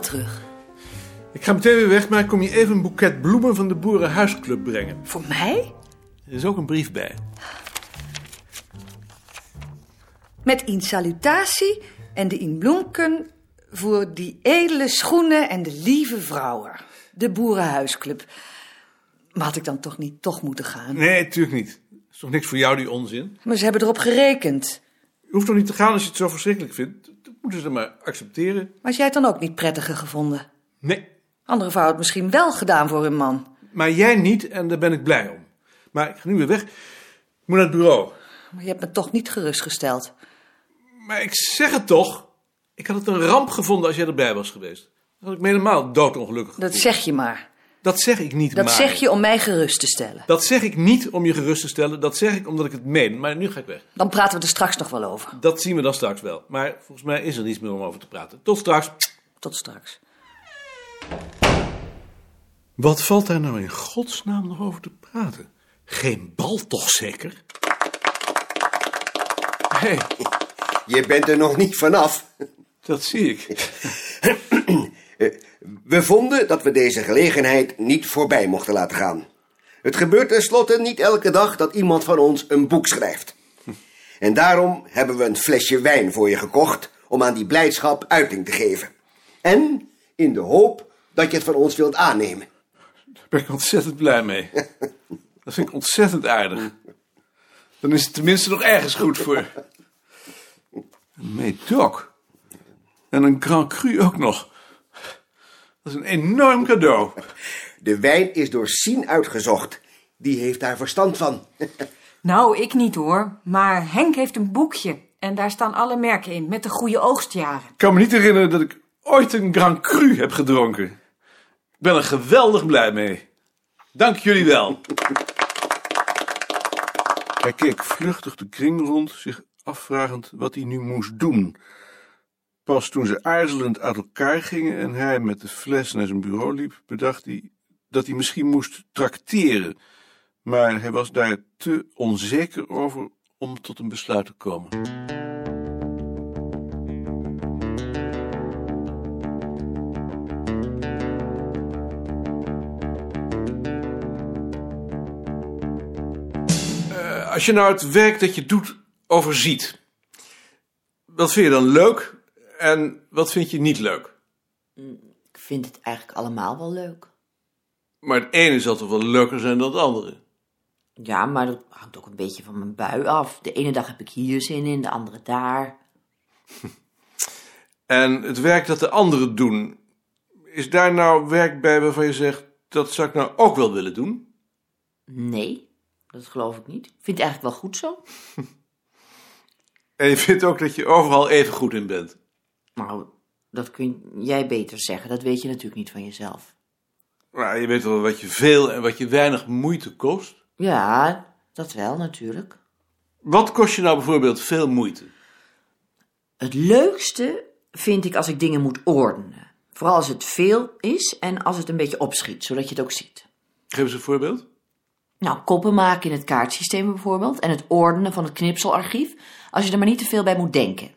terug. Ik ga meteen weer weg, maar ik kom je even een boeket bloemen van de Boerenhuisclub brengen. Voor mij? Er is ook een brief bij. Met in salutatie en de in bloemken voor die edele schoenen en de lieve vrouwen. De Boerenhuisclub. Maar had ik dan toch niet toch moeten gaan? Nee, natuurlijk niet. Is toch niks voor jou, die onzin? Maar ze hebben erop gerekend. Je hoeft toch niet te gaan als je het zo verschrikkelijk vindt? Dat moeten ze dan maar accepteren. Maar had jij het dan ook niet prettiger gevonden? Nee. Andere vrouwen het misschien wel gedaan voor hun man. Maar jij niet en daar ben ik blij om. Maar ik ga nu weer weg. Ik moet naar het bureau. Maar je hebt me toch niet gerustgesteld. Maar ik zeg het toch. Ik had het een ramp gevonden als jij erbij was geweest. Dan had ik me helemaal doodongelukkig Dat gevoeld. zeg je maar. Dat zeg ik niet, Dat maar. zeg je om mij gerust te stellen. Dat zeg ik niet om je gerust te stellen. Dat zeg ik omdat ik het meen. Maar nu ga ik weg. Dan praten we er straks nog wel over. Dat zien we dan straks wel. Maar volgens mij is er niets meer om over te praten. Tot straks. Tot straks. Wat valt daar nou in godsnaam nog over te praten? Geen bal toch zeker? Hé, Je bent er nog niet vanaf. dat zie ik. We vonden dat we deze gelegenheid niet voorbij mochten laten gaan. Het gebeurt tenslotte niet elke dag dat iemand van ons een boek schrijft. En daarom hebben we een flesje wijn voor je gekocht om aan die blijdschap uiting te geven. En in de hoop dat je het van ons wilt aannemen. Daar ben ik ontzettend blij mee. Dat vind ik ontzettend aardig. Dan is het tenminste nog ergens goed voor. Een medoc. En een Grand Cru ook nog. Dat is een enorm cadeau. De wijn is door Sien uitgezocht. Die heeft daar verstand van. Nou, ik niet hoor. Maar Henk heeft een boekje. En daar staan alle merken in, met de goede oogstjaren. Ik kan me niet herinneren dat ik ooit een Grand Cru heb gedronken. Ik ben er geweldig blij mee. Dank jullie wel. Hij keek vluchtig de kring rond, zich afvragend wat hij nu moest doen. Pas toen ze aarzelend uit elkaar gingen en hij met de fles naar zijn bureau liep, bedacht hij dat hij misschien moest tracteren. Maar hij was daar te onzeker over om tot een besluit te komen. Als je nou het werk dat je doet overziet, wat vind je dan leuk en wat vind je niet leuk? Ik vind het eigenlijk allemaal wel leuk. Maar het ene zal toch wel leuker zijn dan het andere? Ja, maar dat hangt ook een beetje van mijn bui af. De ene dag heb ik hier zin in, de andere daar. En het werk dat de anderen doen, is daar nou werk bij waarvan je zegt, dat zou ik nou ook wel willen doen? Nee, dat geloof ik niet. Ik vind het eigenlijk wel goed zo. En je vindt ook dat je overal even goed in bent. Nou, dat kun jij beter zeggen. Dat weet je natuurlijk niet van jezelf. Maar Nou, je weet wel wat je veel en wat je weinig moeite kost. Ja, dat wel natuurlijk. Wat kost je nou bijvoorbeeld veel moeite? Het leukste vind ik als ik dingen moet ordenen. Vooral als het veel is en als het een beetje opschiet, zodat je het ook ziet. Geef eens een voorbeeld. Nou, koppen maken in het kaartsysteem bijvoorbeeld en het ordenen van het knipselarchief, als je er maar niet te veel bij moet denken.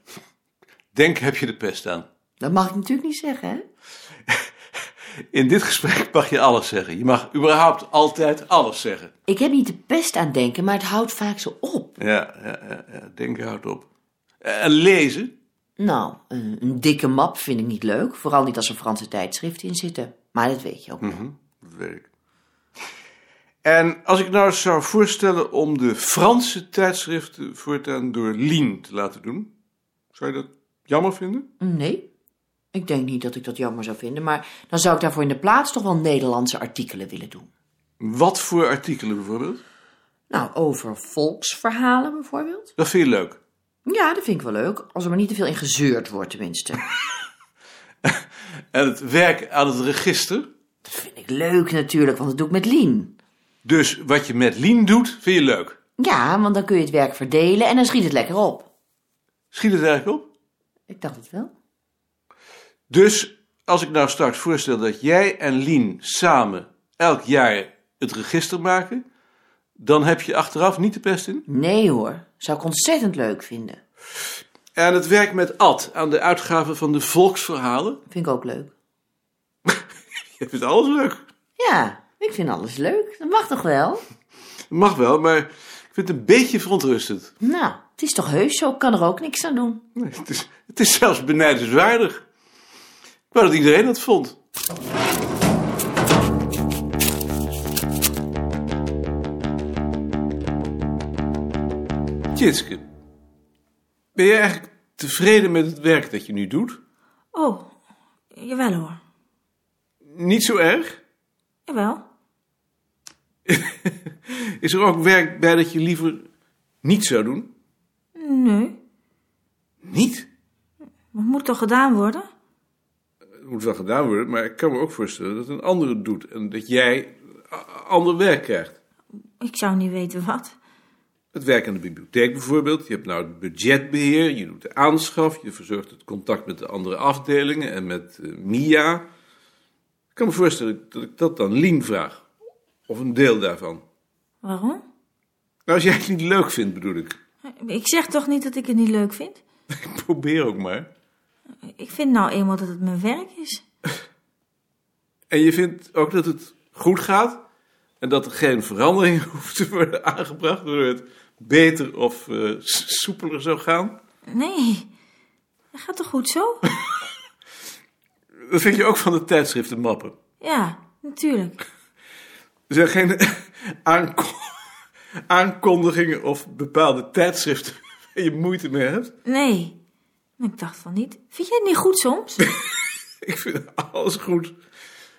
Denk heb je de pest aan. Dat mag ik natuurlijk niet zeggen, hè? In dit gesprek mag je alles zeggen. Je mag überhaupt altijd alles zeggen. Ik heb niet de pest aan denken, maar het houdt vaak zo op. Ja, ja, ja, ja, denk houdt op. En lezen? Nou, een, een dikke map vind ik niet leuk, vooral niet als er Franse tijdschriften in zitten. Maar dat weet je ook. Dat weet ik. En als ik nou zou voorstellen om de Franse tijdschriften voortaan door Lien te laten doen, zou je dat jammer vinden? Nee, ik denk niet dat ik dat jammer zou vinden, maar dan zou ik daarvoor in de plaats toch wel Nederlandse artikelen willen doen. Wat voor artikelen bijvoorbeeld? Nou, over volksverhalen bijvoorbeeld. Dat vind je leuk. Ja, dat vind ik wel leuk, als er maar niet te veel in gezeurd wordt tenminste. En het werk aan het register? Dat vind ik leuk natuurlijk, want dat doe ik met Lien. Dus wat je met Lien doet, vind je leuk. Ja, want dan kun je het werk verdelen en dan schiet het lekker op. Schiet het eigenlijk op? Ik dacht het wel. Dus als ik nou straks voorstel dat jij en Lien samen elk jaar het register maken, dan heb je achteraf niet de pest in. Nee hoor, zou ik ontzettend leuk vinden. En het werk met Ad aan de uitgave van de volksverhalen, Vind ik ook leuk. Je vindt alles leuk. Ja, ik vind alles leuk. Dat mag toch wel? Mag wel, maar ik vind het een beetje verontrustend. Nou, het is toch heus zo. Ik kan er ook niks aan doen. Nee, het, is, het is zelfs benijdenswaardig. Ik wou dat iedereen dat vond. Tjitske, ben jij eigenlijk tevreden met het werk dat je nu doet? Oh, jawel hoor. Niet zo erg? Jawel. Is er ook werk bij dat je liever niet zou doen? Nee, Niet? dat moet toch gedaan worden? Het moet wel gedaan worden, maar ik kan me ook voorstellen dat een ander het doet en dat jij a- ander werk krijgt. Ik zou niet weten wat. Het werk aan de bibliotheek bijvoorbeeld. Je hebt nou het budgetbeheer, je doet de aanschaf, je verzorgt het contact met de andere afdelingen en met eh, MIA. Ik kan me voorstellen dat ik dat dan Lien vraag. Of een deel daarvan. Waarom? Nou, als jij het niet leuk vindt, bedoel ik. Ik zeg toch niet dat ik het niet leuk vind? Ik probeer ook maar. Ik vind nou eenmaal dat het mijn werk is. En je vindt ook dat het goed gaat en dat er geen verandering hoeft te worden aangebracht, waardoor het beter of eh, s- soepeler zou gaan. Nee, dat gaat toch goed zo? Dat vind je ook van de tijdschriften mappen. Ja, natuurlijk. Er zijn geen aanko- aankondigingen of bepaalde tijdschriften waar je moeite mee hebt. Nee, maar ik dacht van niet. Vind jij het niet goed soms? Ik vind alles goed.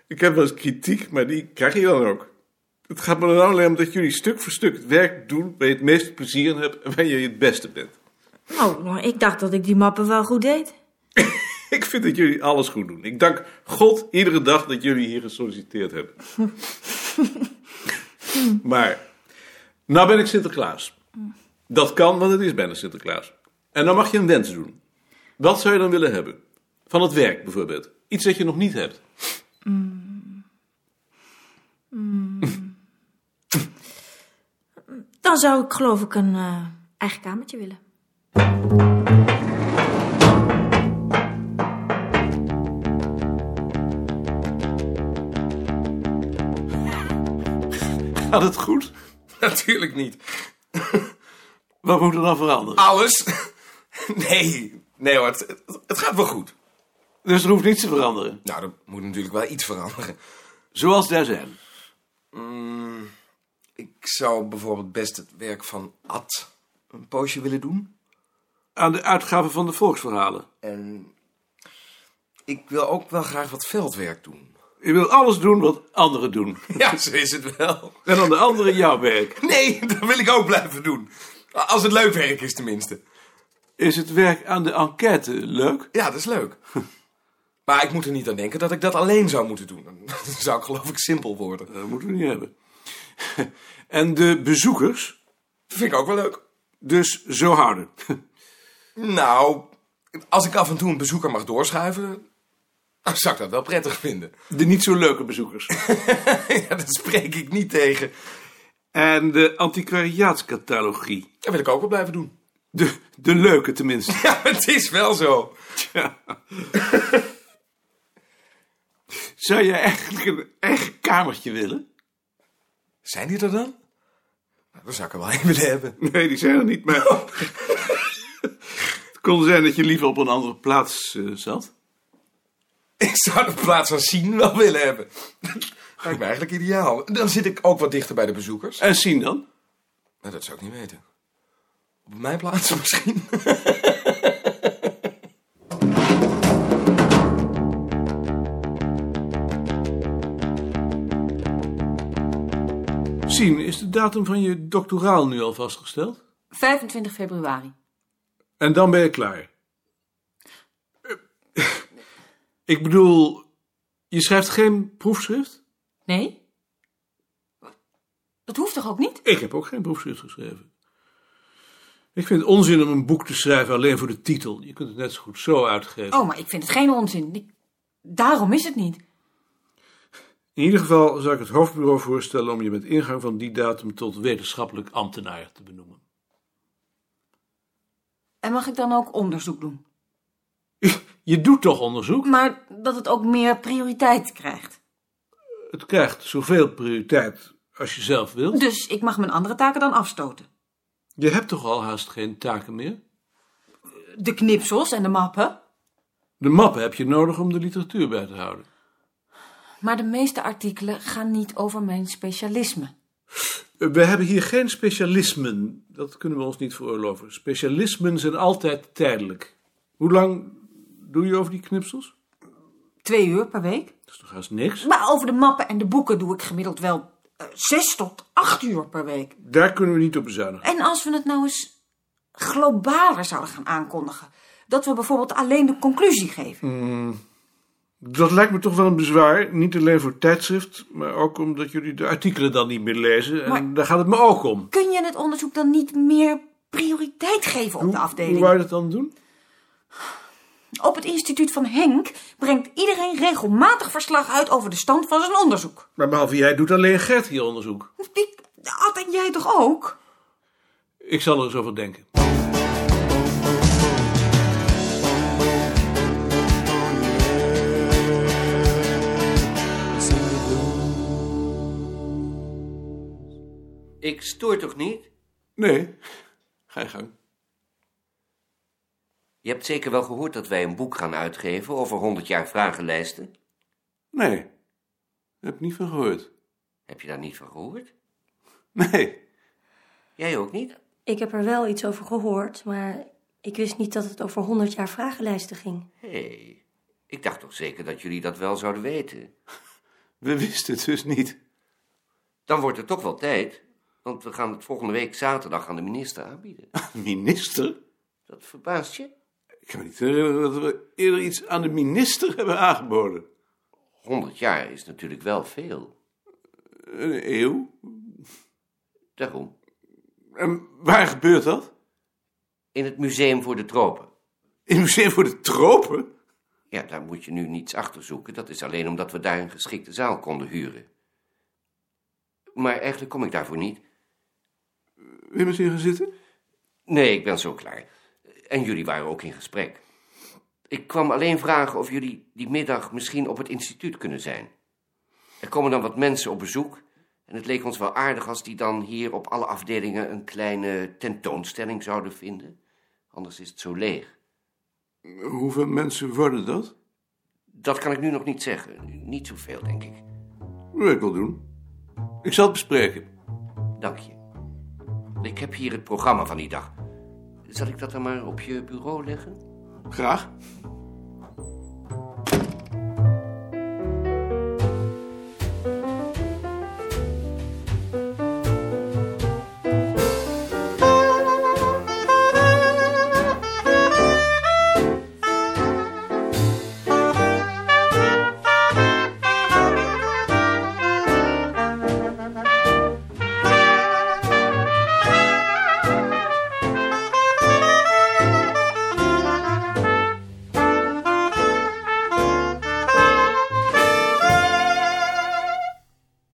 Ik heb wel eens kritiek, maar die krijg je dan ook. Het gaat me dan alleen om dat jullie stuk voor stuk het werk doen waar je het meeste plezier in hebt en waar je het beste bent. Nou, nou, ik dacht dat ik die mappen wel goed deed. Ik vind dat jullie alles goed doen. Ik dank God iedere dag dat jullie hier gesolliciteerd hebben. maar, nou ben ik Sinterklaas. Dat kan, want het is bijna Sinterklaas. En dan mag je een wens doen. Wat zou je dan willen hebben? Van het werk bijvoorbeeld. Iets dat je nog niet hebt. Dan zou ik geloof ik een eh, eigen kamertje willen. Gaat het goed? Natuurlijk niet. Wat moet er dan veranderen? Alles? Nee, nee hoor, het, het- het gaat wel goed. Dus er hoeft niets te veranderen. Nou, er moet natuurlijk wel iets veranderen. Zoals daar zijn. Mm, ik zou bijvoorbeeld best het werk van Ad een poosje willen doen. Aan de uitgaven van de volksverhalen. En ik wil ook wel graag wat veldwerk doen. Je wil alles doen wat anderen doen. Ja, zo is het wel. En dan de anderen jouw werk. Nee, dat wil ik ook blijven doen. Als het leuk werk is tenminste. Is het werk aan de enquête leuk? Ja, dat is leuk. Maar ik moet er niet aan denken dat ik dat alleen zou moeten doen. Dan zou ik geloof ik simpel worden. Dat moeten we niet hebben. En de bezoekers, Vind ik ook wel leuk. dus zo houden. Nou, als ik af en toe een bezoeker mag doorschuiven, dan zou ik dat wel prettig vinden. De niet zo leuke bezoekers. ja, dat spreek ik niet tegen. En de antiquariaatscatalogie. Dat wil ik ook wel blijven doen. De, de leuke tenminste. Ja, het is wel zo. Ja. Zou jij eigenlijk een eigen kamertje willen? Zijn die er dan? Nou, dan zou ik er wel een willen hebben. Nee, die zijn er niet, maar... Het kon zijn dat je liever op een andere plaats eh, zat. Ik zou de plaats van zien wel willen hebben. Lijkt me eigenlijk ideaal. Dan zit ik ook wat dichter bij de bezoekers. En zien dan? Nou, dat zou ik niet weten. Op mijn plaats misschien. Zien, is de datum van je doctoraal nu al vastgesteld? 25 februari. En dan ben je klaar. Eh, Ik bedoel, je schrijft geen proefschrift? Nee? Dat hoeft toch ook niet? Ik heb ook geen proefschrift geschreven. Ik vind het onzin om een boek te schrijven alleen voor de titel. Je kunt het net zo goed zo uitgeven. Oh, maar ik vind het geen onzin. Ik- Daarom is het niet. In ieder geval zou ik het hoofdbureau voorstellen om je met ingang van die datum tot wetenschappelijk ambtenaar te benoemen. En mag ik dan ook onderzoek doen? Je doet toch onderzoek? Maar dat het ook meer prioriteit krijgt. Het krijgt zoveel prioriteit als je zelf wilt. Dus ik mag mijn andere taken dan afstoten. Je hebt toch al haast geen taken meer? De knipsels en de mappen. De mappen heb je nodig om de literatuur bij te houden. Maar de meeste artikelen gaan niet over mijn specialisme. Eh, We hebben hier geen specialismen. Dat kunnen we ons niet veroorloven. Specialismen zijn altijd tijdelijk. Hoe lang doe je over die knipsels? Twee uur per week. Dat is toch haast niks? Maar over de mappen en de boeken doe ik gemiddeld wel eh, zes tot acht uur per week. Daar kunnen we niet op bezuinigen. En als we het nou eens globaler zouden gaan aankondigen. Dat we bijvoorbeeld alleen de conclusie geven. Dat lijkt me toch wel een bezwaar. Niet alleen voor het tijdschrift, maar ook omdat jullie de artikelen dan niet meer lezen. En Maar- daar gaat het me ook om. Kun je het onderzoek dan niet meer prioriteit geven op de Hoe afdeling? wou je dat dan doen? Op het instituut van Henk brengt iedereen regelmatig verslag uit over de stand van zijn onderzoek. Maar behalve jij doet alleen Gert hier onderzoek. Die had en jij toch ook? Ik zal er eens over denken. Ik stoor toch niet? Nee, ga je gang. Je hebt zeker wel gehoord dat wij een boek gaan uitgeven over 100 jaar vragenlijsten. Nee, heb niet van gehoord. Heb je daar niet van gehoord? Nee, Jij ook niet? Ik heb er wel iets over gehoord, maar ik wist niet dat het over 100 jaar vragenlijsten ging. Hé, ik dacht toch zeker dat jullie dat wel zouden weten. we wisten het dus niet. Dan wordt het toch wel tijd, want we gaan het volgende week zaterdag aan de minister aanbieden. Minister? Dat verbaast je? Ik kan me niet herinneren dat we eerder iets aan de minister hebben aangeboden. 100 jaar is natuurlijk wel veel. Een eeuw? Daarom, En waar gebeurt dat? in het Museum voor de Tropen. In het Museum voor de Tropen? Ja, daar moet je nu niets achter zoeken. Dat is alleen omdat we daar een geschikte zaal konden huren. Maar eigenlijk kom ik daarvoor niet. Wil je met hier gaan zitten? Nee, ik ben zo klaar. En jullie waren ook in gesprek. Ik kwam alleen vragen of jullie die middag misschien op het instituut kunnen zijn. Er komen dan wat mensen op bezoek. En het leek ons wel aardig als die dan hier op alle afdelingen een kleine tentoonstelling zouden vinden. Anders is het zo leeg. Hoeveel mensen worden dat? Dat kan ik nu nog niet zeggen. Niet zoveel, denk ik. Dat wil ik wel doen. Ik zal het bespreken. Dank je. Ik heb hier het programma van die dag. Zal ik dat dan maar op je bureau leggen? Graag.